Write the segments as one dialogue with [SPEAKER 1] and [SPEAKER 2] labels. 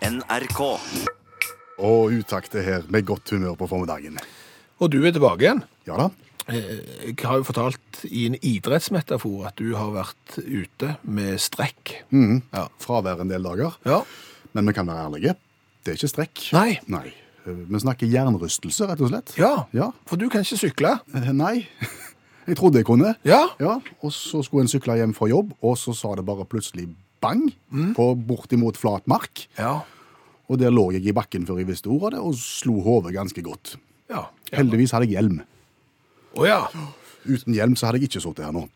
[SPEAKER 1] NRK.
[SPEAKER 2] Og utakt er her med godt humør på formiddagen.
[SPEAKER 3] Og du er tilbake igjen. Eh,
[SPEAKER 2] Ja da.
[SPEAKER 3] Jeg har jo fortalt i en idrettsmetafor at du har vært ute med strekk.
[SPEAKER 2] Mhm.
[SPEAKER 3] Ja.
[SPEAKER 2] Fravær en del dager.
[SPEAKER 3] Ja.
[SPEAKER 2] Men vi kan være ærlige. Det er ikke strekk.
[SPEAKER 3] Nei.
[SPEAKER 2] Nei. Eh, Vi snakker jernrystelse, rett og slett.
[SPEAKER 3] Ja.
[SPEAKER 2] Ja.
[SPEAKER 3] For du kan ikke sykle.
[SPEAKER 2] Eh, Nei. Jeg trodde jeg kunne.
[SPEAKER 3] Ja.
[SPEAKER 2] Ja, og så skulle en sykle hjem fra jobb, og så sa det bare plutselig bang
[SPEAKER 3] Mm.
[SPEAKER 2] på bortimot flat mark.
[SPEAKER 3] Ja.
[SPEAKER 2] Og der lå jeg i bakken før jeg visste ordet av det, og slo hodet ganske godt.
[SPEAKER 3] Ja. Å
[SPEAKER 2] Heldigvis hadde jeg hjelm.
[SPEAKER 3] ja.
[SPEAKER 2] Uten hjelm så hadde jeg ikke sittet her nå.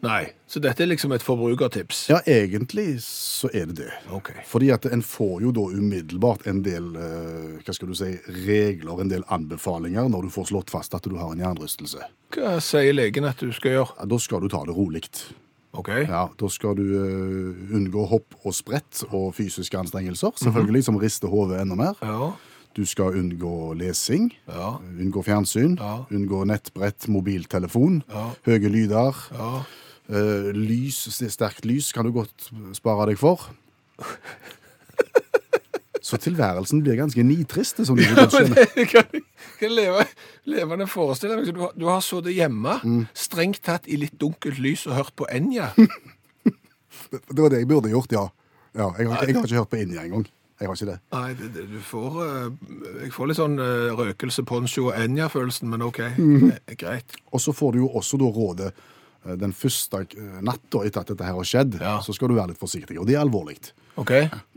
[SPEAKER 3] Nei. Så dette er liksom et forbrukertips.
[SPEAKER 2] Ja, egentlig så er det det.
[SPEAKER 3] Ok.
[SPEAKER 2] Fordi at en får jo da umiddelbart en del eh, hva skal du si, regler, en del anbefalinger, når du får slått fast at du har en jernrystelse.
[SPEAKER 3] Hva sier legen at du skal gjøre?
[SPEAKER 2] Ja, da skal du ta det roligt.
[SPEAKER 3] Ok.
[SPEAKER 2] Ja, da skal du eh, unngå hopp og sprett og fysiske anstrengelser,
[SPEAKER 3] Mhm.
[SPEAKER 2] selvfølgelig, som rister hodet enda mer.
[SPEAKER 3] Ja.
[SPEAKER 2] Du skal unngå lesing,
[SPEAKER 3] Ja.
[SPEAKER 2] unngå fjernsyn,
[SPEAKER 3] Ja.
[SPEAKER 2] unngå nettbrett, mobiltelefon,
[SPEAKER 3] Ja.
[SPEAKER 2] høye lyder,
[SPEAKER 3] Ja.
[SPEAKER 2] eh, lys, sterkt lys kan du godt spare deg for. Så tilværelsen blir ganske nitriste, som sånn du vil
[SPEAKER 3] Men
[SPEAKER 2] skjønne.
[SPEAKER 3] jeg kan, kan leve, levende forestille meg. Du, har- du har sittet hjemme,
[SPEAKER 2] Mm.
[SPEAKER 3] strengt tatt i litt dunkelt lys og hørt på Enja.
[SPEAKER 2] Det var det jeg burde gjort, ja. ja jeg, har, jeg har ikke hørt på India engang. Jeg har ikke det.
[SPEAKER 3] Nei, det, det, du får eh, Jeg får litt sånn eh, røkelse, poncho og Enja-følelsen, men OK.
[SPEAKER 2] Mhm.
[SPEAKER 3] Eh, Greit.
[SPEAKER 2] Og så får du jo også da rådet eh, den første eh, natta etter at dette her har skjedd,
[SPEAKER 3] Ja.
[SPEAKER 2] så skal du være litt forsiktig, og det er alvorlig.
[SPEAKER 3] OK?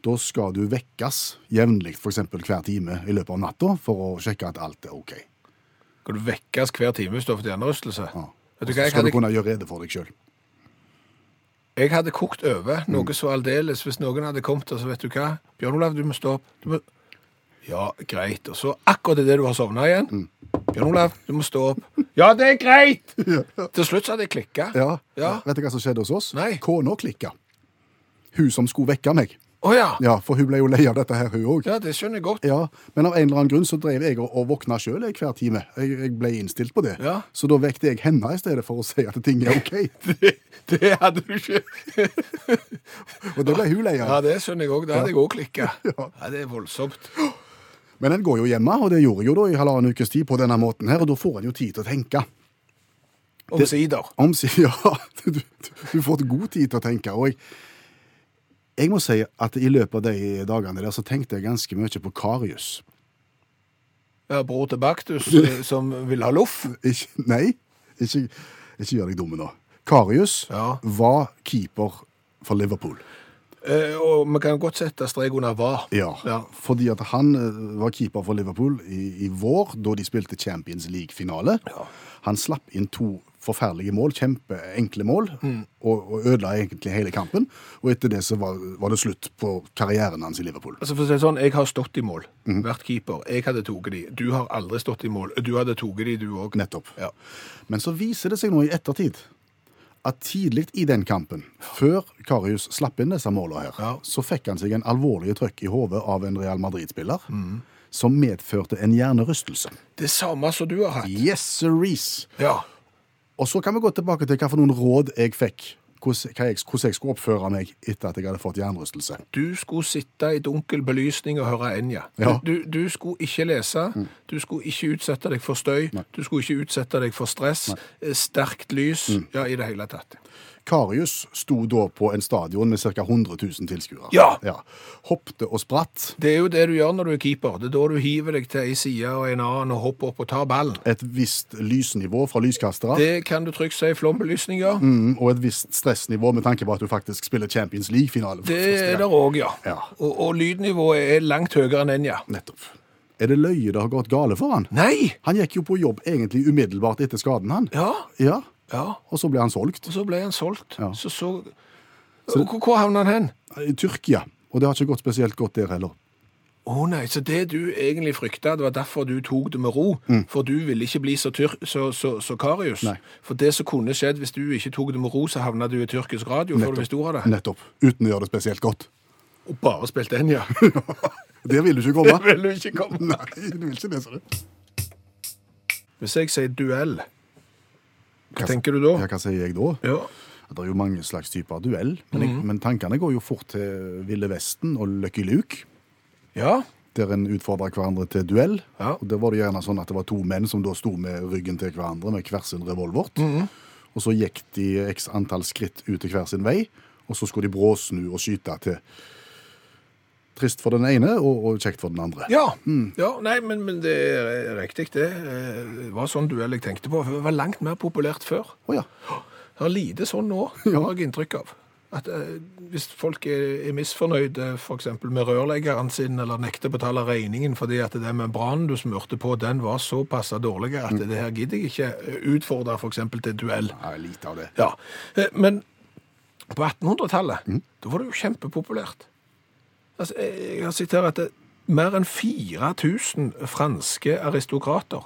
[SPEAKER 2] Da skal du vekkes jevnlig, f.eks. hver time i løpet av natta, for å sjekke at alt er OK.
[SPEAKER 3] Skal du vekkes hver time hvis du har fått hjernerystelse?
[SPEAKER 2] Ja. Og
[SPEAKER 3] Vet du
[SPEAKER 2] så
[SPEAKER 3] hva, jeg
[SPEAKER 2] skal du
[SPEAKER 3] hadde,
[SPEAKER 2] kunne gjøre rede for deg sjøl.
[SPEAKER 3] jeg hadde kokt over
[SPEAKER 2] Mm.
[SPEAKER 3] noe så aldeles hvis noen hadde kommet og så vet du hva Bjørn Olav, du må stå opp. Du må... Ja, greit. Og så akkurat idet du har sovna igjen.
[SPEAKER 2] Mm.
[SPEAKER 3] Bjørn Olav, du må stå opp. Ja, det er greit! Til slutt så hadde jeg klikka.
[SPEAKER 2] Ja.
[SPEAKER 3] Ja.
[SPEAKER 2] Vet du hva som skjedde hos oss?
[SPEAKER 3] Nei.
[SPEAKER 2] Kona klikka. Hun som skulle vekke meg.
[SPEAKER 3] Å ja.
[SPEAKER 2] Ja, For hun ble jo lei av dette her, hun òg.
[SPEAKER 3] ja! Det skjønner jeg godt.
[SPEAKER 2] Ja, men av en eller annen grunn så drev jeg og- og våkna sjøl hver time. Jeg, jeg ble innstilt på det.
[SPEAKER 3] Ja.
[SPEAKER 2] Så da vekte jeg henne i stedet for å si at ting er OK.
[SPEAKER 3] Det, det hadde du ikke
[SPEAKER 2] Og det ble hun lei
[SPEAKER 3] Ja,
[SPEAKER 2] av.
[SPEAKER 3] det skjønner jeg òg. Det hadde jeg òg klikka. Ja, det er voldsomt.
[SPEAKER 2] Men en går jo hjemme, og det gjorde jeg jo da i halvannen ukes tid på denne måten her, og da får en jo tid til å tenke.
[SPEAKER 3] Omsider.
[SPEAKER 2] Omsider, ja. Du, du, du får god tid til å tenke. Og jeg, jeg må si at i løpet av de dagene der så tenkte jeg ganske mye på Karius.
[SPEAKER 3] Ja, bror til Baktus eh, som vil ha loff.
[SPEAKER 2] Ikke, nei, ikke, ikke gjør deg dumme nå. Karius
[SPEAKER 3] Ja.
[SPEAKER 2] var keeper for Liverpool.
[SPEAKER 3] Eh, og vi kan godt sette strek under hva.
[SPEAKER 2] Ja,
[SPEAKER 3] Ja.
[SPEAKER 2] fordi at han eh, var keeper for Liverpool i, i vår, da de spilte Champions League-finale. Han slapp inn to forferdelige mål, kjempeenkle mål,
[SPEAKER 3] Mm.
[SPEAKER 2] og, og ødela egentlig hele kampen. Og etter det så var, var det slutt på karrieren hans i Liverpool.
[SPEAKER 3] Altså for å si det sånn, Jeg har stått i mål, vært keeper. Jeg hadde tatt de. Du har aldri stått i mål. Du hadde tatt de, du òg.
[SPEAKER 2] Nettopp.
[SPEAKER 3] Ja.
[SPEAKER 2] Men så viser det seg nå i ettertid at tidlig i den kampen, før Karius slapp inn disse målene her,
[SPEAKER 3] Ja.
[SPEAKER 2] så fikk han seg en alvorlig trøkk i hodet av en Real Madrid-spiller,
[SPEAKER 3] Mm.
[SPEAKER 2] som medførte en hjernerystelse.
[SPEAKER 3] Det samme som du har hatt.
[SPEAKER 2] Yes, siris!
[SPEAKER 3] Ja.
[SPEAKER 2] Og så kan vi gå tilbake til hva for noen råd jeg fikk. Hvordan hva jeg, hvordan jeg skulle oppføre meg etter at jeg hadde fått jernrystelse.
[SPEAKER 3] Du skulle sitte i dunkel belysning og høre Enja.
[SPEAKER 2] Ja.
[SPEAKER 3] Du, du skulle ikke lese, du skulle ikke utsette deg for støy, du skulle ikke utsette deg for stress, eh, sterkt lys, ja, i det hele tatt.
[SPEAKER 2] Karius sto da på en stadion med ca. 100 000 tilskuere.
[SPEAKER 3] Ja.
[SPEAKER 2] Hoppte og spratt.
[SPEAKER 3] Det er jo det du gjør når du er keeper. Det er da du hiver deg til ei side og en annen og hopper opp og tar ballen.
[SPEAKER 2] Et visst lysnivå fra lyskastere.
[SPEAKER 3] Det kan du trygt si flombelysning gjør.
[SPEAKER 2] Mm, og et visst stressnivå med tanke på at du faktisk spiller Champions League-finale. for
[SPEAKER 3] Det
[SPEAKER 2] første
[SPEAKER 3] er
[SPEAKER 2] gang.
[SPEAKER 3] der òg, ja.
[SPEAKER 2] Ja.
[SPEAKER 3] Og, og lydnivået er langt høyere enn Enja.
[SPEAKER 2] Nettopp. Er det løye det har gått gale for han?
[SPEAKER 3] Nei!
[SPEAKER 2] Han gikk jo på jobb egentlig umiddelbart etter skaden, han.
[SPEAKER 3] Ja.
[SPEAKER 2] Ja,
[SPEAKER 3] ja.
[SPEAKER 2] Og så ble han solgt
[SPEAKER 3] Og så ble han solgt.
[SPEAKER 2] Ja.
[SPEAKER 3] Så så Og Hvor hvor havna han hen?
[SPEAKER 2] i Tyrkia. Og det har ikke gått spesielt godt der heller.
[SPEAKER 3] Å nei, så det du egentlig frykta, det var derfor du tok det med ro. For du ville ikke bli så, tyr, så, så, så Karius.
[SPEAKER 2] Mm. Nei.
[SPEAKER 3] For det som kunne skjedd hvis du ikke tok det med ro, så havna du i tyrkisk radio før du visste ordet av det.
[SPEAKER 2] Nettopp. Uten å gjøre det spesielt godt.
[SPEAKER 3] Og bare spilte den, ja.
[SPEAKER 2] Der vil du ikke komme.
[SPEAKER 3] Vil du ikke komme?
[SPEAKER 2] Nei, du vil ikke det, sa du.
[SPEAKER 3] Hvis jeg sier duell, hva tenker du da?
[SPEAKER 2] Ja, hva sier jeg da?
[SPEAKER 3] Ja.
[SPEAKER 2] Det er jo mange
[SPEAKER 3] Mhm.
[SPEAKER 2] slags typer duell, men, jeg, men tankene går jo fort til Ville Vesten og Lucky Luke.
[SPEAKER 3] Ja.
[SPEAKER 2] der en utfordra hverandre til duell.
[SPEAKER 3] Ja.
[SPEAKER 2] Og Der var det gjerne sånn at det var to menn som da sto med ryggen til hverandre med hver sin revolvert.
[SPEAKER 3] Mhm.
[SPEAKER 2] Og så gikk de x antall skritt ut til hver sin vei, og så skulle de bråsnu og skyte til Trist for den ene og, og kjekt for den andre.
[SPEAKER 3] Ja. ja nei, men, men det er riktig, det. Eh, Det var sånn duell jeg tenkte på. for Det var langt mer populært før.
[SPEAKER 2] Å ja.
[SPEAKER 3] Det er lite sånn nå,
[SPEAKER 2] Ja.
[SPEAKER 3] har jeg inntrykk av. At eh, Hvis folk er, er misfornøyde f.eks. med rørleggeren sin, eller nekter å betale regningen fordi at den membranen du smurte på, den var såpass dårlig at det her gidder jeg ikke eh, utfordre f.eks. til duell.
[SPEAKER 2] Nei, lite av det.
[SPEAKER 3] Ja, eh, Men på 1800-tallet da var det jo kjempepopulært. Altså, eh, jeg har sett her at det, mer enn 4000 franske aristokrater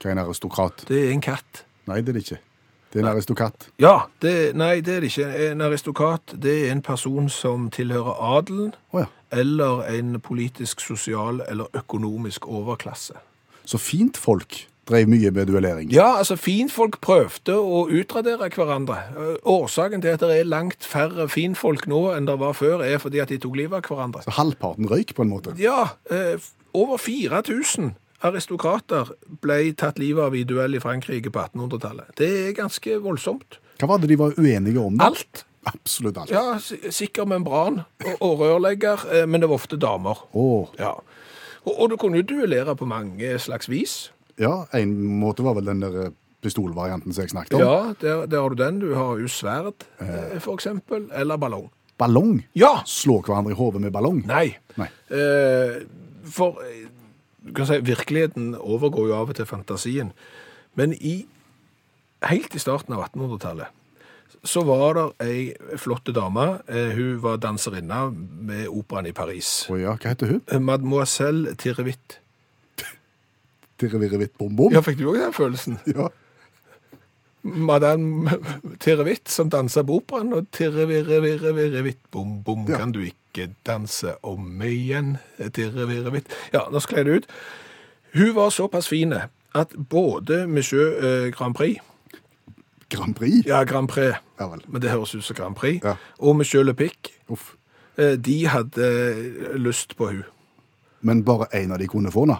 [SPEAKER 2] Hva er en aristokrat?
[SPEAKER 3] Det er en katt.
[SPEAKER 2] Nei, det er det ikke. Det er en aristokrat.
[SPEAKER 3] Ja, det, nei, det er det ikke. En aristokrat det er en person som tilhører adelen,
[SPEAKER 2] Å ja.
[SPEAKER 3] eller en politisk, sosial eller økonomisk overklasse.
[SPEAKER 2] Så fint folk drev mye med duellering.
[SPEAKER 3] Ja, altså finfolk prøvde å utradere hverandre. Eh, Årsaken til at det er langt færre finfolk nå enn det var før, er fordi at de tok livet av hverandre.
[SPEAKER 2] Så halvparten røyk, på en måte.
[SPEAKER 3] Ja, eh, over 4000 aristokrater ble tatt livet av i duell i Frankrike på 1800-tallet. Det er ganske voldsomt.
[SPEAKER 2] Hva var det de var uenige om? da?
[SPEAKER 3] Alt
[SPEAKER 2] Absolutt alt.
[SPEAKER 3] Ja, si- sikker membran og, og rørlegger, eh, men det var ofte damer.
[SPEAKER 2] Å,
[SPEAKER 3] Ja. Og, og du kunne jo duellere på mange slags vis.
[SPEAKER 2] Ja, en måte var vel den der eh, pistolvarianten som jeg snakket om.
[SPEAKER 3] Ja, der, der har du den. Du har jo sverd, eh, for eksempel, eller ballong.
[SPEAKER 2] Ballong.
[SPEAKER 3] Ja!
[SPEAKER 2] Slå hverandre i hodet med ballong.
[SPEAKER 3] Nei.
[SPEAKER 2] Nei.
[SPEAKER 3] Eh, for eh, du kan si, virkeligheten overgår jo av og til fantasien. Men i, helt i starten av 1800-tallet så var det ei flotte dame. Eh, hun var danserinne med operaen i Paris.
[SPEAKER 2] Å ja, hva heter hun?
[SPEAKER 3] Mademoiselle Tirrevitt.
[SPEAKER 2] Tirrevirrevitt bom-bom?
[SPEAKER 3] Ja, fikk du òg den følelsen?
[SPEAKER 2] Ja.
[SPEAKER 3] Madame Tirrevitt som danser på operaen, og Tirrevirrevirrevirrevitt, bom, bom,
[SPEAKER 2] Ja.
[SPEAKER 3] kan du ikke danse om igjen, Tirrevirrevitt. Ja, nå skled det ut. Hun var såpass fin at både Monsieur eh, Grand Prix
[SPEAKER 2] Grand Prix?
[SPEAKER 3] Ja, Grand Prix,
[SPEAKER 2] Ja vel.
[SPEAKER 3] men det høres ut som Grand Prix.
[SPEAKER 2] Ja.
[SPEAKER 3] Og Monsieur Le Pic,
[SPEAKER 2] Uff.
[SPEAKER 3] eh, de hadde eh, lyst på hun.
[SPEAKER 2] Men bare én av de kunne få, da?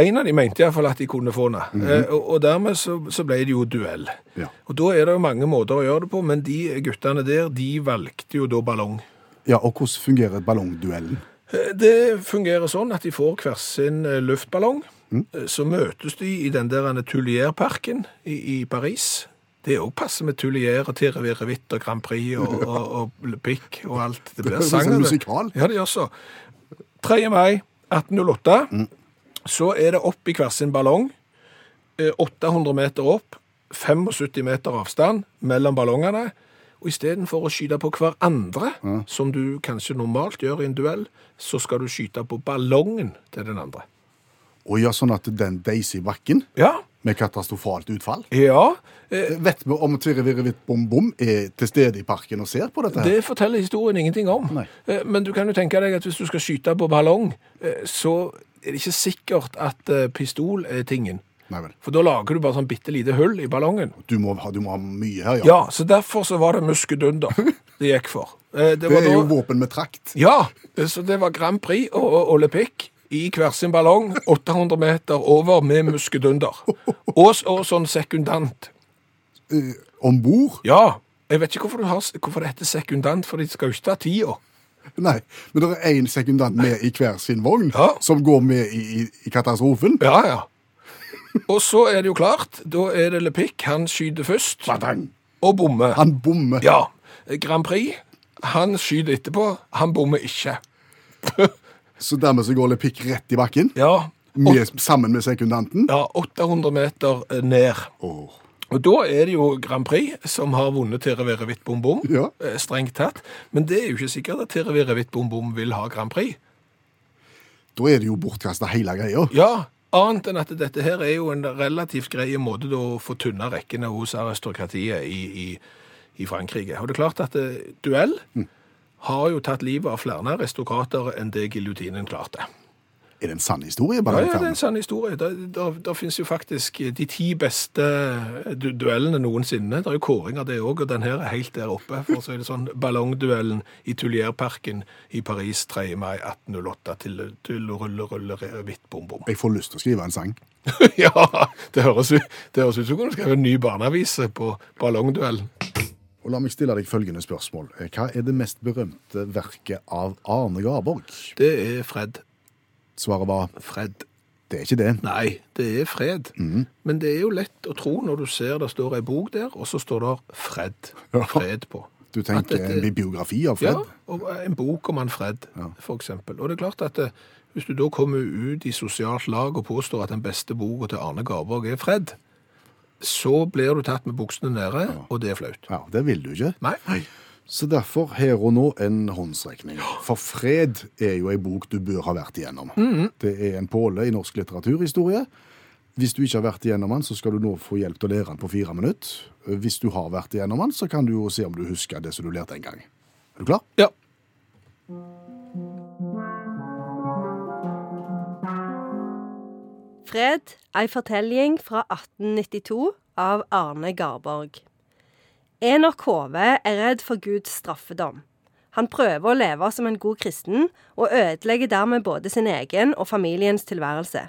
[SPEAKER 3] En av de mente iallfall at de kunne få henne.
[SPEAKER 2] Mhm.
[SPEAKER 3] eh, og, og dermed så, så ble det jo duell.
[SPEAKER 2] Ja.
[SPEAKER 3] Og da er det jo mange måter å gjøre det på, men de guttene der, de valgte jo da ballong.
[SPEAKER 2] ja. Og hvordan fungerer ballongduellen?
[SPEAKER 3] Eh, Det fungerer sånn at de får hver sin eh, luftballong. Eh, Så møtes de i den der Tulier-parken i, i Paris. Det òg passer med Tulier og Tirrevirrevitt og Grand Prix og, og, og Le Pic og alt. Det blir
[SPEAKER 2] høres ut som
[SPEAKER 3] sang
[SPEAKER 2] en
[SPEAKER 3] av det.
[SPEAKER 2] musikal.
[SPEAKER 3] Ja, det gjør så. 3. mai 1808 så er det opp i hver sin ballong. eh, 800 meter opp, 75 meter avstand mellom ballongene. Og istedenfor å skyte på hverandre, som du kanskje normalt gjør i en duell, så skal du skyte på ballongen til den andre.
[SPEAKER 2] Å ja, sånn at den deiser i bakken
[SPEAKER 3] Ja.
[SPEAKER 2] med katastrofalt utfall?
[SPEAKER 3] Ja, eh,
[SPEAKER 2] Vet vi om Tirrevirrevitt bom-bom er til stede i parken og ser på dette? her?
[SPEAKER 3] Det forteller historien ingenting om.
[SPEAKER 2] Nei.
[SPEAKER 3] Eh, Men du kan jo tenke deg at hvis du skal skyte på ballong, eh, så er det ikke sikkert at eh, pistol er tingen.
[SPEAKER 2] Nei vel.
[SPEAKER 3] For da lager du bare sånn bitte lite hull i ballongen.
[SPEAKER 2] Du må, ha, du må ha mye her, ja.
[SPEAKER 3] Ja, så derfor så var det muskedunder det gikk for. Eh,
[SPEAKER 2] Det
[SPEAKER 3] var
[SPEAKER 2] er
[SPEAKER 3] da-
[SPEAKER 2] jo våpen med trakt.
[SPEAKER 3] Ja, eh, så det var Grand Prix og, og, og Le Pic i hver sin ballong, 800 meter over med muskedunder. Og, s- og sånn sekundant.
[SPEAKER 2] Om bord?
[SPEAKER 3] Ja, jeg vet ikke hvorfor, du har, s- hvorfor det heter sekundant, for de skal jo ikke ta tida.
[SPEAKER 2] Nei. Men det er én sekundant med i hver sin vogn
[SPEAKER 3] Ja.
[SPEAKER 2] som går med i, i, i katastrofen.
[SPEAKER 3] Ja, ja. Og så er det jo klart, da er det Le Pic, han skyter først,
[SPEAKER 2] Badang!
[SPEAKER 3] og bommer.
[SPEAKER 2] Han bommer.
[SPEAKER 3] Ja, Grand Prix, han skyter etterpå, han bommer ikke.
[SPEAKER 2] Så dermed så går Le Pic rett i bakken,
[SPEAKER 3] Ja,
[SPEAKER 2] med, sammen med sekundanten.
[SPEAKER 3] ja 800 meter eh, ned.
[SPEAKER 2] Åh.
[SPEAKER 3] Og da er det jo Grand Prix som har vunnet til Revitt Bom Bom,
[SPEAKER 2] Ja.
[SPEAKER 3] eh, strengt tatt. Men det er jo ikke sikkert at til Revitt Bom Bom vil ha Grand Prix.
[SPEAKER 2] Da er det jo bortkasta hele greia.
[SPEAKER 3] Ja, annet enn at dette her er jo en relativt greie måte da å få tynna rekkene hos aristokratiet i, i, i Frankrike. Og det er klart at eh, duell har jo tatt livet av flere aristokrater enn det giljotinen klarte.
[SPEAKER 2] Er det en sann historie?
[SPEAKER 3] Ja,
[SPEAKER 2] Bare
[SPEAKER 3] ja, det er en sann historie. Der, der, der finnes jo faktisk eh, de ti beste eh, du duellene noensinne. Det er jo kåring av det òg, og den her er helt der oppe. For å si det sånn, Ballongduellen i Tullierparken i Paris 3. mai 1808 til, til rulle, rulle, re- hvitt, bom, bom.
[SPEAKER 2] Jeg får lyst til å skrive en sang.
[SPEAKER 3] ja, det høres ut det høres ut som om du skrev en ny barneavise på ballongduellen.
[SPEAKER 2] Og La meg stille deg følgende spørsmål. Eh, Hva er det mest berømte verket av Arne Garborg?
[SPEAKER 3] Det er Fred.
[SPEAKER 2] Svaret var
[SPEAKER 3] Fred.
[SPEAKER 2] det er ikke det.
[SPEAKER 3] Nei, det er fred. Men det er jo lett å tro når du ser det står ei bok der, og så står det Fred.
[SPEAKER 2] Ja.
[SPEAKER 3] Fred på.
[SPEAKER 2] Du
[SPEAKER 3] At
[SPEAKER 2] tenker
[SPEAKER 3] dette-
[SPEAKER 2] en biografi av Fred?
[SPEAKER 3] Ja, og eh, en bok om han Fred, for eksempel. Og det er klart at eh, hvis du da kommer ut i sosialt lag og påstår at den beste boka til Arne Garborg er Fred, så blir du tatt med buksene nede, og det er flaut.
[SPEAKER 2] Ja, det vil du ikke.
[SPEAKER 3] Nei.
[SPEAKER 2] Så derfor her og nå en håndsrekning. For Fred er jo ei bok du bør ha vært igjennom. Det er en påle i norsk litteraturhistorie. Hvis du ikke har vært igjennom den, så skal du nå få hjelp til å lære den på fire minutter. Hvis du har vært igjennom den, så kan du jo se om du husker det som du lærte en gang. Er du klar?
[SPEAKER 3] Ja.
[SPEAKER 1] Fred, ei fortelling fra 1892 av Arne Garborg. Enok Hove er redd for Guds straffedom. Han prøver å leve som en god kristen, og ødelegger dermed både sin egen og familiens tilværelse.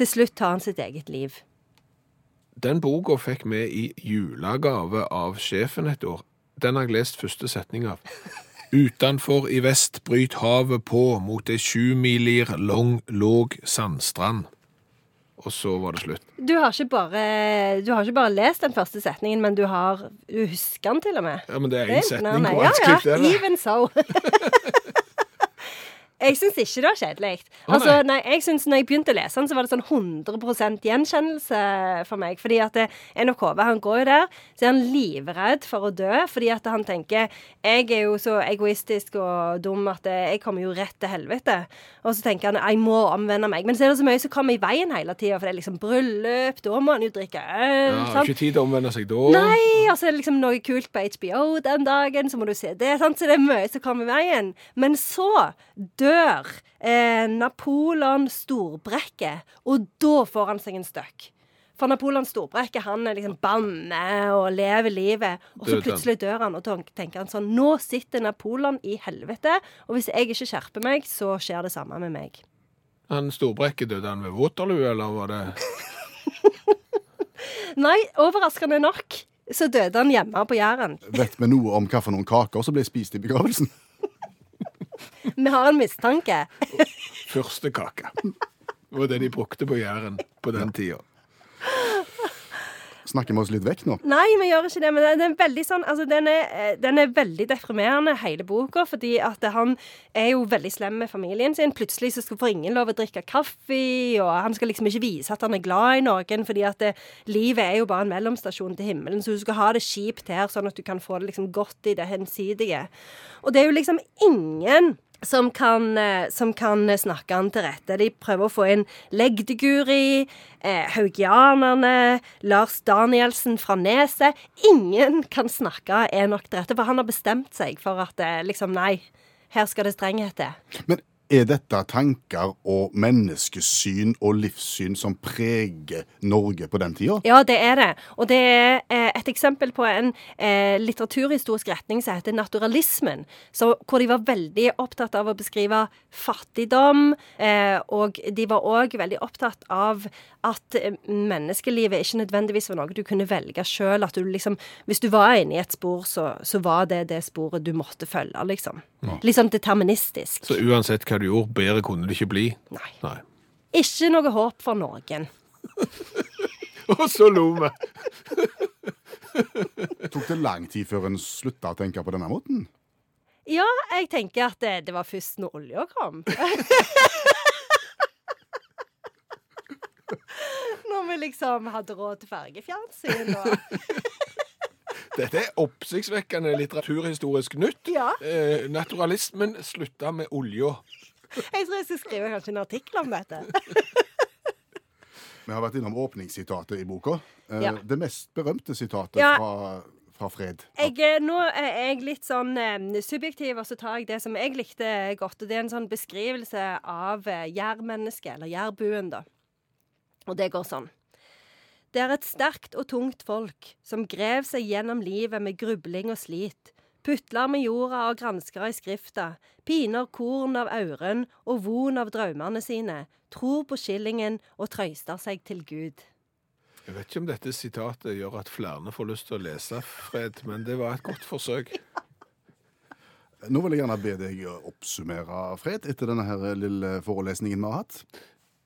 [SPEAKER 1] Til slutt tar han sitt eget liv.
[SPEAKER 3] Den boka fikk vi i julegave av sjefen et år. Den har jeg lest første setning av. Utanfor i vest bryt havet på mot ei sjumilir lang, låg sandstrand. Og så var det slutt.
[SPEAKER 1] Du har, ikke bare, du har ikke bare lest den første setningen, men du har Du husker den til og med.
[SPEAKER 3] Ja, men det er én setning.
[SPEAKER 1] Nei,
[SPEAKER 3] hvor
[SPEAKER 1] ja,
[SPEAKER 3] han
[SPEAKER 1] ja.
[SPEAKER 3] skrev det, eller?
[SPEAKER 1] Even so. jeg syns ikke det var kjedelig.
[SPEAKER 3] Å,
[SPEAKER 1] Altså, nei, jeg synes når jeg begynte å lese den, så var det sånn 100 gjenkjennelse for meg. Fordi at eh, NHKV, han går jo der, så er han livredd for å dø. Fordi at han tenker Jeg er jo så egoistisk og dum at eh, jeg kommer jo rett til helvete. Og så tenker han jeg må omvende meg. Men så er det så mye som kommer i veien hele tida. For det er liksom bryllup, da må han jo drikke øl.
[SPEAKER 3] Ja,
[SPEAKER 1] Eh, sant?
[SPEAKER 3] ikke tid til å omvende seg da.
[SPEAKER 1] Nei, og så er det liksom noe kult på HBO den dagen, så må du se det. Sant? Så det er mye som kommer i veien. Men så dør eh, Napoleon Storbrekke, og da får han seg en støkk. For Napoleon Storbrekke han er liksom banne og lever livet, og så
[SPEAKER 3] Døde han.
[SPEAKER 1] plutselig dør han. Og da tenker han sånn Nå sitter Napoleon i helvete, og hvis jeg ikke skjerper meg, så skjer det samme med meg.
[SPEAKER 3] Han Storbrekke døde han ved Waterloo, eller var det
[SPEAKER 1] Nei, overraskende nok så døde han hjemme på Jæren.
[SPEAKER 2] Vet vi noe om hva for noen kaker som ble spist i begravelsen?
[SPEAKER 1] Vi har en mistanke.
[SPEAKER 3] første kake? Det var det de brukte på Jæren på den tida.
[SPEAKER 2] Snakker vi oss litt vekk nå?
[SPEAKER 1] Nei, vi gjør ikke det. Men den er veldig sånn Altså, den er, eh, den er veldig deprimerende, hele boka, fordi at han er jo veldig slem med familien sin. Plutselig så skal får ingen lov å drikke kaffe, og han skal liksom ikke vise at han er glad i noen, fordi at eh, livet er jo bare en mellomstasjon til himmelen, så du skal ha det kjipt her, sånn at du kan få det liksom godt i det hensidige. Og det er jo liksom ingen som kan, eh, som kan snakke han til rette. De prøver å få inn Legdeguri, eh, Haugianerne, Lars Danielsen fra Neset. Ingen kan snakke Enok til rette, for han har bestemt seg for at eh, liksom, nei, her skal det strenghet til.
[SPEAKER 2] Men er dette tanker og menneskesyn og livssyn som preger Norge på den tida?
[SPEAKER 1] Ja, det er det. Og det er eh, et eksempel på en eh, litteraturhistorisk retning som heter naturalismen. Så, hvor de var veldig opptatt av å beskrive fattigdom, eh, og de var òg veldig opptatt av at eh, menneskelivet ikke nødvendigvis var noe du kunne velge sjøl. At du liksom Hvis du var inne i et spor, så, så var det det sporet du måtte følge, liksom. Litt sånn deterministisk.
[SPEAKER 3] Så uansett hva du gjorde, bedre kunne det ikke bli.
[SPEAKER 1] Nei.
[SPEAKER 3] Nei.
[SPEAKER 1] Ikke noe håp for noen.
[SPEAKER 3] Og så lo vi.
[SPEAKER 2] Tok det lang tid før en slutta å tenke på denne måten?
[SPEAKER 1] Ja, jeg tenker at det, det var først når olja kom. når vi liksom hadde råd til fargefjernsyn og
[SPEAKER 3] Dette er oppsiktsvekkende litteraturhistorisk nytt.
[SPEAKER 1] Ja.
[SPEAKER 3] Eh, naturalismen slutta med olja.
[SPEAKER 1] Jeg tror jeg skal skrive kanskje en artikkel om dette.
[SPEAKER 2] Vi har vært innom åpningssitatet i boka. Eh,
[SPEAKER 1] Ja.
[SPEAKER 2] Det mest berømte sitatet
[SPEAKER 1] Ja.
[SPEAKER 2] fra, ta fred.
[SPEAKER 1] Jeg, eh, nå er jeg litt sånn eh, subjektiv, og så tar jeg det som jeg likte godt. Og det er en sånn beskrivelse av eh, jærmennesket, eller jærbuen, da. Og det går sånn. Det er et sterkt og tungt folk som grev seg gjennom livet med grubling og slit. Putler med jorda og gransker i skrifta, piner korn av auren og von av drømmene sine, tror på skillingen og trøyster seg til Gud.
[SPEAKER 3] Jeg vet ikke om dette sitatet gjør at flere får lyst til å lese, Fred, men det var et godt forsøk.
[SPEAKER 2] Nå vil jeg gjerne be deg å oppsummere, Fred, etter denne her lille forelesningen vi har hatt.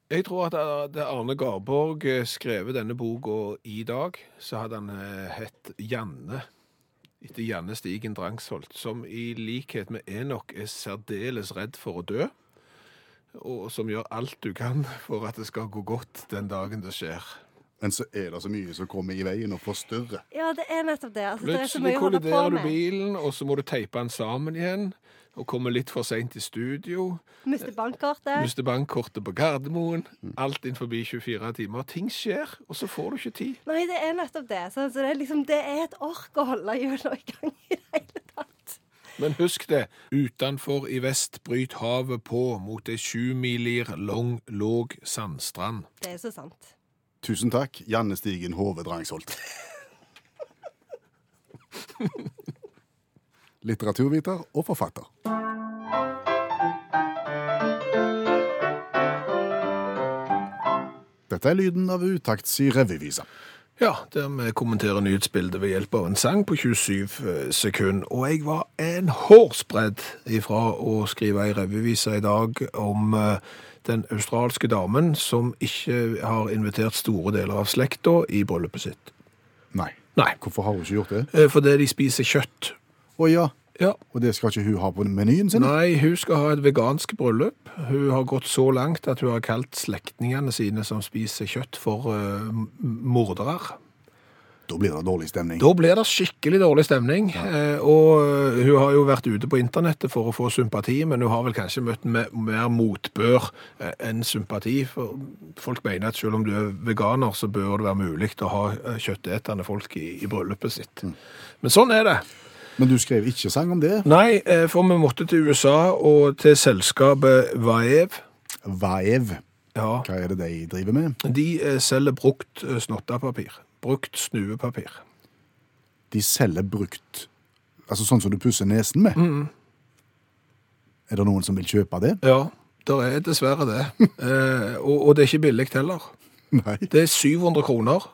[SPEAKER 3] Jeg tror at da Arne Garborg eh, skrev denne boka i dag, så hadde han eh, hett Janne. Etter Janne Stigen Drangsholt, som i likhet med Enok er særdeles redd for å dø. Og som gjør alt du kan for at det skal gå godt den dagen det skjer.
[SPEAKER 2] Men så er det så mye som kommer i veien og forstyrrer.
[SPEAKER 1] Ja, det er nettopp det. Altså, det er så
[SPEAKER 3] Plutselig
[SPEAKER 1] mye å holde på
[SPEAKER 3] kolliderer du
[SPEAKER 1] med.
[SPEAKER 3] bilen, og så må du teipe den sammen igjen. Og kommer litt for seint i studio.
[SPEAKER 1] Mister bankkortet.
[SPEAKER 3] Mister bankkortet på Gardermoen. Alt innenfor 24 timer. Ting skjer, og så får du ikke tid.
[SPEAKER 1] Nei, det er nettopp det. Så, så det, er liksom, det er et ork å holde hjula i gang i det hele tatt.
[SPEAKER 3] Men husk det, utenfor i vest bryt havet på mot ei sjumilir lang, låg sandstrand.
[SPEAKER 1] Det er så sant.
[SPEAKER 2] Tusen takk, Janne Stigen Hove Drangsholt. Litteraturviter og forfatter. Dette er lyden av utakts i revyvisa.
[SPEAKER 3] Ja, der vi kommenterer nyhetsbildet ved hjelp av en sang på 27 sekunder. Og jeg var en hårsbredd ifra å skrive ei revyvise i dag om eh, den australske damen som ikke har invitert store deler av slekta i bryllupet sitt.
[SPEAKER 2] Nei.
[SPEAKER 3] Nei,
[SPEAKER 2] Hvorfor har hun ikke gjort det?
[SPEAKER 3] eh, fordi de spiser kjøtt.
[SPEAKER 2] Å ja,
[SPEAKER 3] Ja,
[SPEAKER 2] og det skal ikke hun ha på menyen sin?
[SPEAKER 3] Nei, hun skal ha et vegansk bryllup. Hun har gått så langt at hun har kalt slektningene sine som spiser kjøtt, for eh, m- mordere.
[SPEAKER 2] Da blir det dårlig stemning.
[SPEAKER 3] Da blir det skikkelig dårlig stemning. eh, og eh, hun har jo vært ute på internettet for å få sympati, men hun har vel kanskje møtt me- mer motbør eh, enn sympati. For folk mener at selv om du er veganer, så bør det være mulig å ha eh, kjøttetende folk i, i bryllupet sitt. Men sånn er det.
[SPEAKER 2] Men du skrev ikke sang om det.
[SPEAKER 3] Nei, eh, for vi måtte til USA og til selskapet Vaev.
[SPEAKER 2] Vaev.
[SPEAKER 3] Ja,
[SPEAKER 2] Hva er det de driver med?
[SPEAKER 3] De eh, selger brukt eh, snottapapir. Brukt snuepapir.
[SPEAKER 2] De selger brukt. Altså sånn som du pusser nesen med. Er det noen som vil kjøpe det?
[SPEAKER 3] Ja, det er dessverre det. Eh, og, og det er ikke billig heller.
[SPEAKER 2] Nei.
[SPEAKER 3] Det er 700 kroner.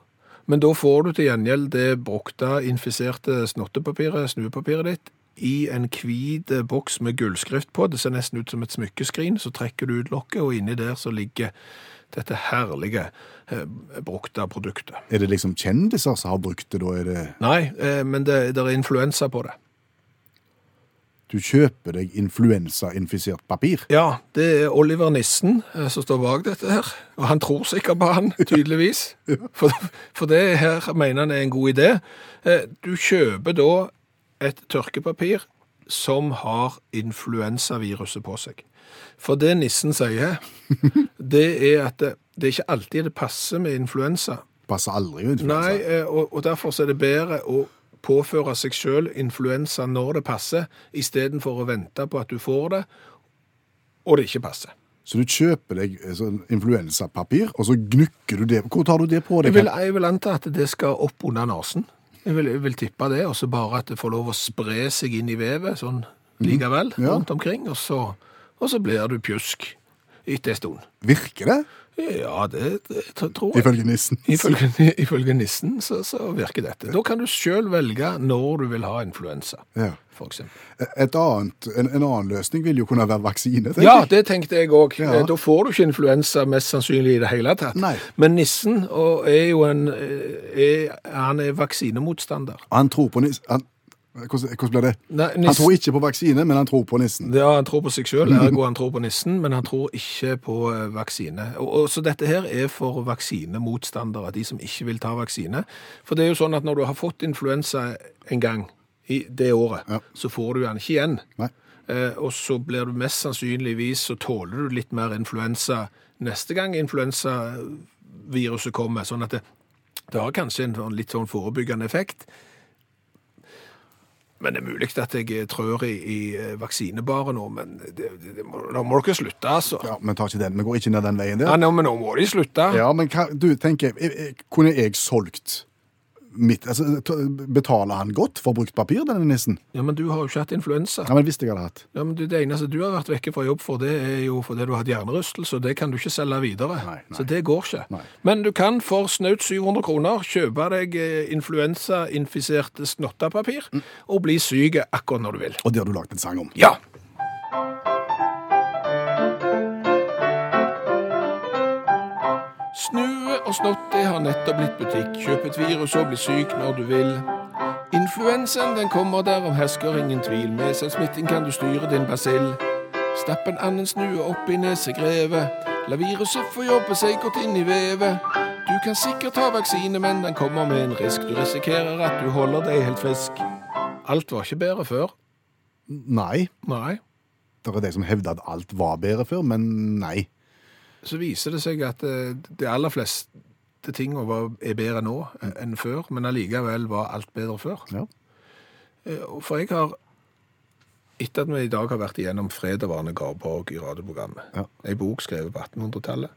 [SPEAKER 3] Men da får du til gjengjeld det brukte, infiserte snottepapiret, snuepapiret ditt, i en hvit eh, boks med gullskrift på. Det ser nesten ut som et smykkeskrin. Så trekker du ut lokket, og inni der så ligger dette herlige eh, brukte produktet.
[SPEAKER 2] Er det liksom kjendiser som har brukt det, da er det
[SPEAKER 3] Nei, eh, men det, det er influensa på det.
[SPEAKER 2] Du kjøper deg influensainfisert papir.
[SPEAKER 3] Ja, det er Oliver Nissen eh, som står bak dette her. Og han tror sikkert på han, tydeligvis. For, for det her mener han er en god idé. Eh, Du kjøper da et tørkepapir som har influensaviruset på seg. For det Nissen sier, det er at det, det er ikke alltid det passer med influensa.
[SPEAKER 2] Passer aldri med
[SPEAKER 3] Nei,
[SPEAKER 2] influensa.
[SPEAKER 3] eh, og, og derfor så er det bedre å påføre seg sjøl influensa når det passer, istedenfor å vente på at du får det, og det ikke passer.
[SPEAKER 2] Så du kjøper deg eh, sånn influensapapir, og så gnukker du det Hvor tar du det på
[SPEAKER 3] Jeg
[SPEAKER 2] deg?
[SPEAKER 3] vil, jeg vil anta at det skal opp under nesen. Jeg vil, jeg vil tippe det, og så bare at det får lov å spre seg inn i vevet sånn likevel,
[SPEAKER 2] Ja.
[SPEAKER 3] rundt omkring, og så, og så blir du pjusk etter en stund.
[SPEAKER 2] Virker det?
[SPEAKER 3] Ja, det, det tror jeg.
[SPEAKER 2] Ifølge nissen.
[SPEAKER 3] Ifølge, ifølge nissen så, så virker dette. Da kan du sjøl velge når du vil ha influensa,
[SPEAKER 2] Ja.
[SPEAKER 3] for eksempel.
[SPEAKER 2] Et annet, en, en annen løsning vil jo kunne være vaksine. tenker
[SPEAKER 3] Ja,
[SPEAKER 2] jeg.
[SPEAKER 3] det tenkte jeg òg.
[SPEAKER 2] Ja.
[SPEAKER 3] Da får du ikke influensa mest sannsynlig i det hele tatt.
[SPEAKER 2] Nei.
[SPEAKER 3] Men nissen og er jo en eh, er, Han er vaksinemotstander.
[SPEAKER 2] Han tror på nissen han, hvordan, hvordan blir det?
[SPEAKER 3] Nei,
[SPEAKER 2] Han tror
[SPEAKER 3] nissen,
[SPEAKER 2] ikke på vaksine, men han tror på nissen.
[SPEAKER 3] ja, han tror på seg sjøl, ergo han tror på nissen, men han tror ikke på eh, vaksine. Og, og, så dette her er for vaksinemotstandere, de som ikke vil ta vaksine. For det er jo sånn at når du har fått influensa en gang i det året,
[SPEAKER 2] Ja.
[SPEAKER 3] så får du den ikke igjen.
[SPEAKER 2] Nei.
[SPEAKER 3] Eh, og så blir du mest sannsynligvis, så tåler du litt mer influensa neste gang influensaviruset kommer. Sånn at det, det har kanskje en sånn- litt sånn forebyggende effekt Men det er mulig at jeg trør i, i eh, vaksinebaren nå, men det, det, det må, da må dere slutte, altså.
[SPEAKER 2] Ja, men tar ikke den. Vi går ikke ned den veien
[SPEAKER 3] Ja,
[SPEAKER 2] der.
[SPEAKER 3] nå, men nå må de slutte.
[SPEAKER 2] Ja, men hva, du tenker, jeg, jeg, kunne jeg solgt mitt altså, t- Betaler han godt for brukt papir, denne nissen?
[SPEAKER 3] Ja, men du har jo ikke hatt influensa.
[SPEAKER 2] Ja, men Hvis jeg hadde hatt
[SPEAKER 3] Ja, men du, Det eneste du har vært vekke fra jobb for, det er jo fordi du har hatt hjernerystelse, og det kan du ikke selge videre.
[SPEAKER 2] Nei, nei.
[SPEAKER 3] Så det går ikke.
[SPEAKER 2] Nei.
[SPEAKER 3] Men du kan for snaut 700 kroner kjøpe deg eh, influensainfisert snottepapir
[SPEAKER 2] Mm.
[SPEAKER 3] og bli syk akkurat når du vil.
[SPEAKER 2] Og det har du lagd en sang om.
[SPEAKER 3] Ja! Snue og snotte har nettopp blitt butikk. Kjøp et virus og bli syk når du vil. Influensaen den kommer, derom hersker ingen tvil. Med selvsmitting kan du styre din basill. Stapp en annen snue opp i nesegrevet. La viruset få jobbe seg godt inn i vevet. Du kan sikkert ta vaksine, men den kommer med en risk. Du risikerer at du holder deg helt frisk. Alt var ikke bedre før.
[SPEAKER 2] Nei.
[SPEAKER 3] Nei.
[SPEAKER 2] Det er de som hevder at alt var bedre før, men nei.
[SPEAKER 3] så viser det seg at eh, de aller fleste tingene var, er bedre nå en- enn før, men allikevel var alt bedre før.
[SPEAKER 2] Ja.
[SPEAKER 3] Eh, og For jeg har, etter at vi i dag har vært igjennom Fred av Arne Garborg i radioprogrammet,
[SPEAKER 2] Ja.
[SPEAKER 3] en bok skrevet på 1800-tallet,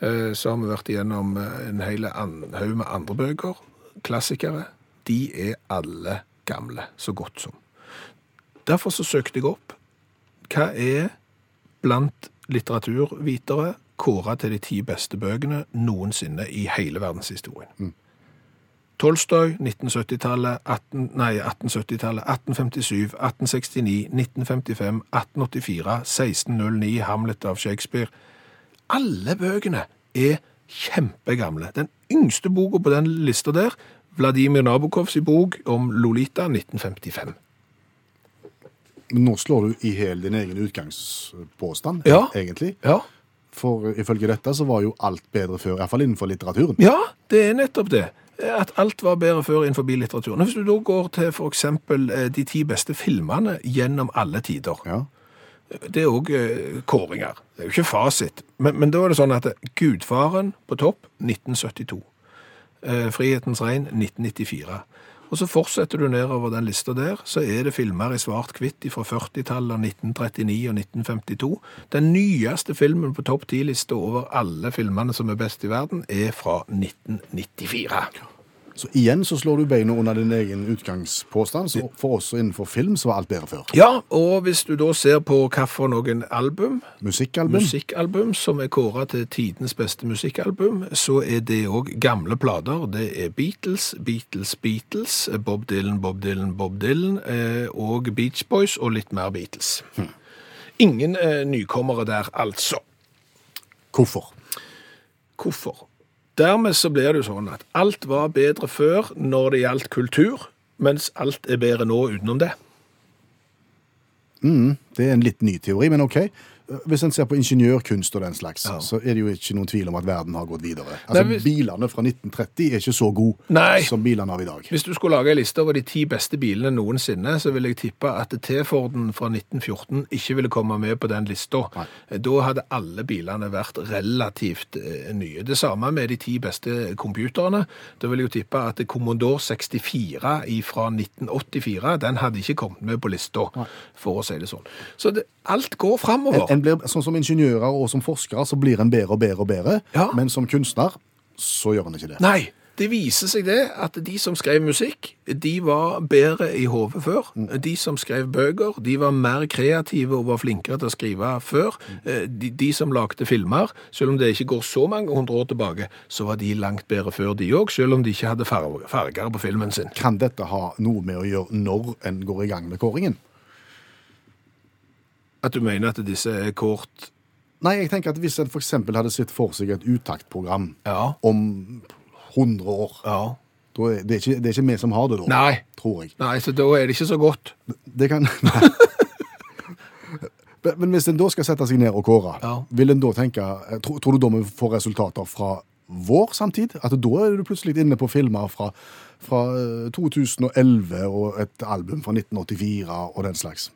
[SPEAKER 3] eh, så har vi vært igjennom eh, en hel an- haug med andre bøker, klassikere. De er alle gamle, så godt som. Derfor så søkte jeg opp. Hva er blant litteraturvitere kåra til de ti beste bøkene noensinne i hele verdenshistorien. Tolstoy, 1970-tallet, 18, nei, 1870-tallet, 1857, 1869, 1955, 1884, 1609, Hamlet av Shakespeare. Alle bøkene er kjempegamle. Den yngste boka på den lista der, Vladimir Nabokovs bok om Lolita, 1955.
[SPEAKER 2] Men nå slår du i hjel din egen utgangspåstand,
[SPEAKER 3] Ja.
[SPEAKER 2] egentlig.
[SPEAKER 3] Ja,
[SPEAKER 2] For eh, ifølge dette så var jo alt bedre før, iallfall innenfor litteraturen.
[SPEAKER 3] Ja, det er nettopp det. At alt var bedre før innenfor litteraturen. Hvis du da går til for eksempel eh, de ti beste filmene gjennom alle tider,
[SPEAKER 2] Ja.
[SPEAKER 3] det er òg kåringer. Det er jo ikke fasit. Men, men da er det sånn at Gudfaren på topp 1972. Eh, Frihetens regn 1994. Og så fortsetter du nedover den lista der, så er det filmer i svart-hvitt fra 40-tallet, 1939 og 1952. Den nyeste filmen på topp 10-lista over alle filmene som er best i verden, er fra 1994.
[SPEAKER 2] Så igjen så slår du beina under din egen utgangspåstand. Så for oss innenfor film så var alt bedre før.
[SPEAKER 3] Ja, og hvis du da ser på hva for noen album
[SPEAKER 2] Musikkalbum.
[SPEAKER 3] musikkalbum som er kåra til tidenes beste musikkalbum, så er det òg gamle plater. Det er Beatles, Beatles, Beatles, Bob Dylan, Bob Dylan, Bob Dylan, eh, og Beach Boys og litt mer Beatles. Ingen eh, nykommere der, altså.
[SPEAKER 2] Hvorfor?
[SPEAKER 3] Hvorfor? Dermed så blir det jo sånn at alt var bedre før når det gjaldt kultur, mens alt er bedre nå utenom det.
[SPEAKER 2] Det er en litt ny teori, men OK. Eh, Hvis en ser på ingeniørkunst og den slags, så er det jo ikke noen tvil om at verden har gått videre. Altså,
[SPEAKER 3] Nei, hvis-
[SPEAKER 2] Bilene fra 1930 er ikke så gode
[SPEAKER 3] Nei.
[SPEAKER 2] som bilene av i dag.
[SPEAKER 3] Hvis du skulle lage en liste over de ti beste bilene noensinne, så vil jeg tippe at T-Forden fra 1914 ikke ville komme med på den lista. Da hadde alle bilene vært relativt eh, nye. Det samme med de ti beste computerne. Da vil jeg jo tippe at Commodore 64 fra 1984, den hadde ikke kommet med på lista, for å si det sånn. Så det, alt går
[SPEAKER 2] En,
[SPEAKER 3] framover.
[SPEAKER 2] en blir, sånn som ingeniører og som forskere så blir en bedre og bedre og bedre,
[SPEAKER 3] Ja.
[SPEAKER 2] men som kunstner så gjør en ikke det.
[SPEAKER 3] Nei, det viser seg det at de som skrev musikk, de var bedre i hodet før. De som skrev bøker, de var mer kreative og var flinkere til å skrive før. Eh, De, de som lagde filmer, selv om det ikke går så mange hundre år tilbake, så var de langt bedre før de òg, selv om de ikke hadde farg- farger på filmen sin.
[SPEAKER 2] Kan dette ha noe med å gjøre når en går i gang med kåringen?
[SPEAKER 3] At du mener at disse er kort
[SPEAKER 2] Nei, jeg tenker at hvis en f.eks. hadde sett for seg et utaktprogram
[SPEAKER 3] Ja.
[SPEAKER 2] om 100 år
[SPEAKER 3] ja.
[SPEAKER 2] da er, det, er ikke, det er ikke vi som har det da,
[SPEAKER 3] Nei.
[SPEAKER 2] tror jeg.
[SPEAKER 3] Nei, så da er det ikke så godt.
[SPEAKER 2] Det kan... Men- Men hvis en da skal sette seg ned og kåre,
[SPEAKER 3] Ja.
[SPEAKER 2] vil en da tenke, tro, tror du da vi får resultater fra vår samtid? At da er du plutselig inne på filmer fra, fra eh, 2011 og et album fra 1984 og den slags.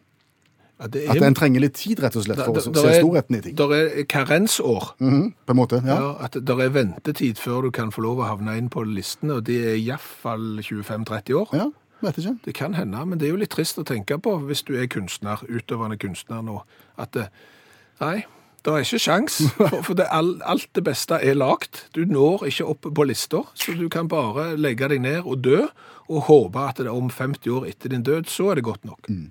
[SPEAKER 3] Ja, det
[SPEAKER 2] At en trenger litt tid rett og slett for å se storheten i ting.
[SPEAKER 3] Det er karensår.
[SPEAKER 2] Mhm, på en måte, ja.
[SPEAKER 3] Ja, at det er ventetid før du kan få lov å havne inn på listene, og det er iallfall 25-30 år.
[SPEAKER 2] Ja. Vet ikke.
[SPEAKER 3] Det kan hende, men det er jo litt trist å tenke på hvis du er kunstner, utøvende kunstner nå, at det, nei, det er ikke sjans, for, for det, all, alt det beste er lagt. Du når ikke opp på lister, så du kan bare legge deg ned og dø, og håpe at det er om 50 år etter din død, så er det godt nok.
[SPEAKER 2] Mm.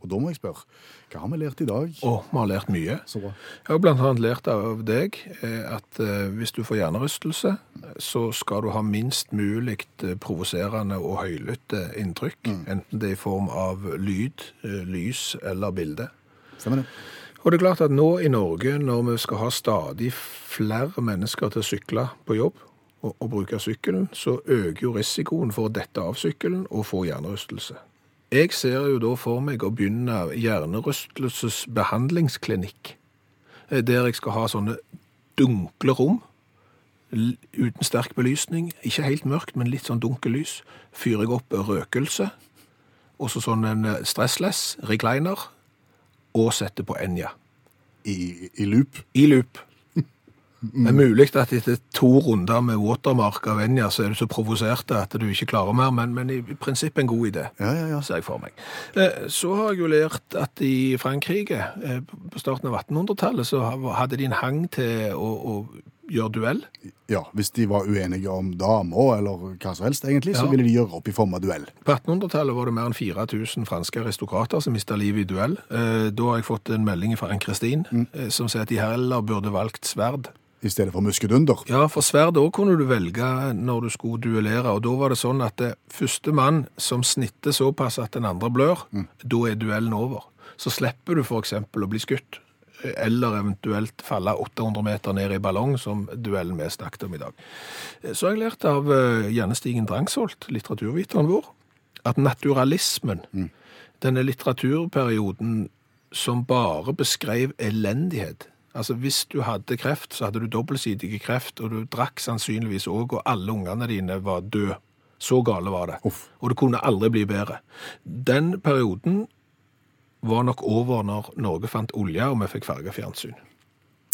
[SPEAKER 3] Å,
[SPEAKER 2] Og da må jeg spørre, hva har vi lært i dag?
[SPEAKER 3] vi har lært mye.
[SPEAKER 2] Så bra.
[SPEAKER 3] Jeg har blant annet lært av deg eh, at eh, hvis du får hjernerystelse, så skal du ha minst mulig eh, provoserende og høylytte inntrykk, enten det er i form av lyd, eh, lys eller bilde.
[SPEAKER 2] Stemmer det.
[SPEAKER 3] Og det er klart at nå i Norge, når vi skal ha stadig flere mennesker til å sykle på jobb, og, og bruke sykkelen, så øker jo risikoen for å dette av sykkelen og få hjernerystelse. Jeg ser jo da for meg å begynne hjernerystelsesbehandlingsklinikk, eh, der jeg skal ha sånne dunkle rom, l- uten sterk belysning, ikke helt mørkt, men litt sånn dunkelys. Fyrer jeg opp røkelse, og så sånn en eh, stressless, recliner, og setter på Enja.
[SPEAKER 2] I, i loop.
[SPEAKER 3] I loop. Det er mulig at etter to runder med watermark av Enja, så er du så provosert at du ikke klarer mer, men, men i prinsippet en god idé,
[SPEAKER 2] Ja, ja, ja.
[SPEAKER 3] ser jeg for meg. Eh, Så har jeg jo lært at i Frankrike, eh, på starten av 1800-tallet, så hadde de en hang til å, å gjøre duell.
[SPEAKER 2] ja hvis de var uenige om damer eller hva som helst, egentlig, så
[SPEAKER 3] Ja.
[SPEAKER 2] ville de gjøre opp i form av duell.
[SPEAKER 3] På 1800-tallet var det mer enn 4000 franske aristokrater som mista livet i duell. Eh, Da har jeg fått en melding fra Ann-Kristin eh, som sier at de heller burde valgt sverd.
[SPEAKER 2] I stedet for muskedunder.
[SPEAKER 3] Ja, for sverd òg kunne du velge når du skulle duellere. Og da var det sånn at det første mann som snitter såpass at den andre blør, da er duellen over. Så slipper du f.eks. å bli skutt. eh, Eller eventuelt falle 800 meter ned i ballong, som duellen vi snakket om i dag. Så har jeg lært av eh, Janne Stigen Drangsholt, litteraturviteren vår, at naturalismen, denne litteraturperioden som bare beskrev elendighet. Altså Hvis du hadde kreft, så hadde du dobbeltsidig kreft, og du drakk sannsynligvis òg, og alle ungene dine var døde. Så gale var det.
[SPEAKER 2] Uff.
[SPEAKER 3] Og det kunne aldri bli bedre. Den perioden var nok over når Norge fant olje, og vi fikk fargefjernsyn.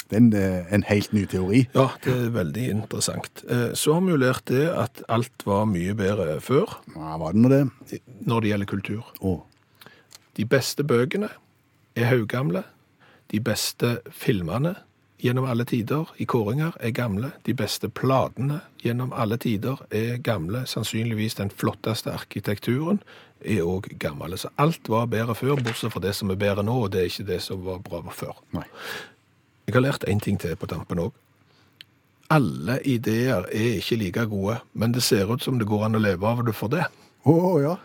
[SPEAKER 2] Det er en, eh, en helt ny teori.
[SPEAKER 3] Ja, det er veldig interessant. Eh, Så har vi jo lært det at alt var mye bedre før
[SPEAKER 2] Ja, var det nå det?
[SPEAKER 3] når det gjelder kultur.
[SPEAKER 2] Å,
[SPEAKER 3] De beste bøkene er haugamle. De beste filmene gjennom alle tider i kåringer er gamle. De beste platene gjennom alle tider er gamle. Sannsynligvis den flotteste arkitekturen er òg gammel. Så alt var bedre før, bortsett fra det som er bedre nå, og det er ikke det som var bra før.
[SPEAKER 2] nei.
[SPEAKER 3] Jeg har lært én ting til på tampen òg. Alle ideer er ikke like gode, men det ser ut som det går an å leve av det for det.
[SPEAKER 2] Å, å, ja.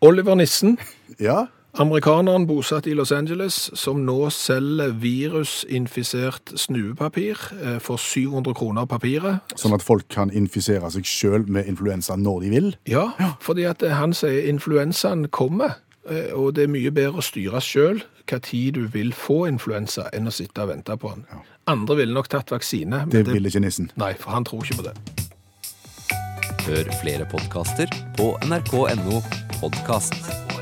[SPEAKER 3] Oliver Nissen
[SPEAKER 2] Ja,
[SPEAKER 3] Amerikaneren bosatt i Los Angeles, som nå selger virusinfisert snuepapir eh, for 700 kroner papiret.
[SPEAKER 2] sånn at folk kan infisere seg selv med influensa når de vil.
[SPEAKER 3] Ja, fordi at eh, han sier influensaen kommer, eh, og det er mye bedre å styre sjøl hva tid du vil få influensa, enn å sitte og vente på den. Andre ville nok tatt vaksine, men
[SPEAKER 2] Det
[SPEAKER 3] det,
[SPEAKER 2] vil ikke nissen.
[SPEAKER 3] nei, for han tror ikke på det.
[SPEAKER 4] Hør flere podkaster på nrk.no podkast.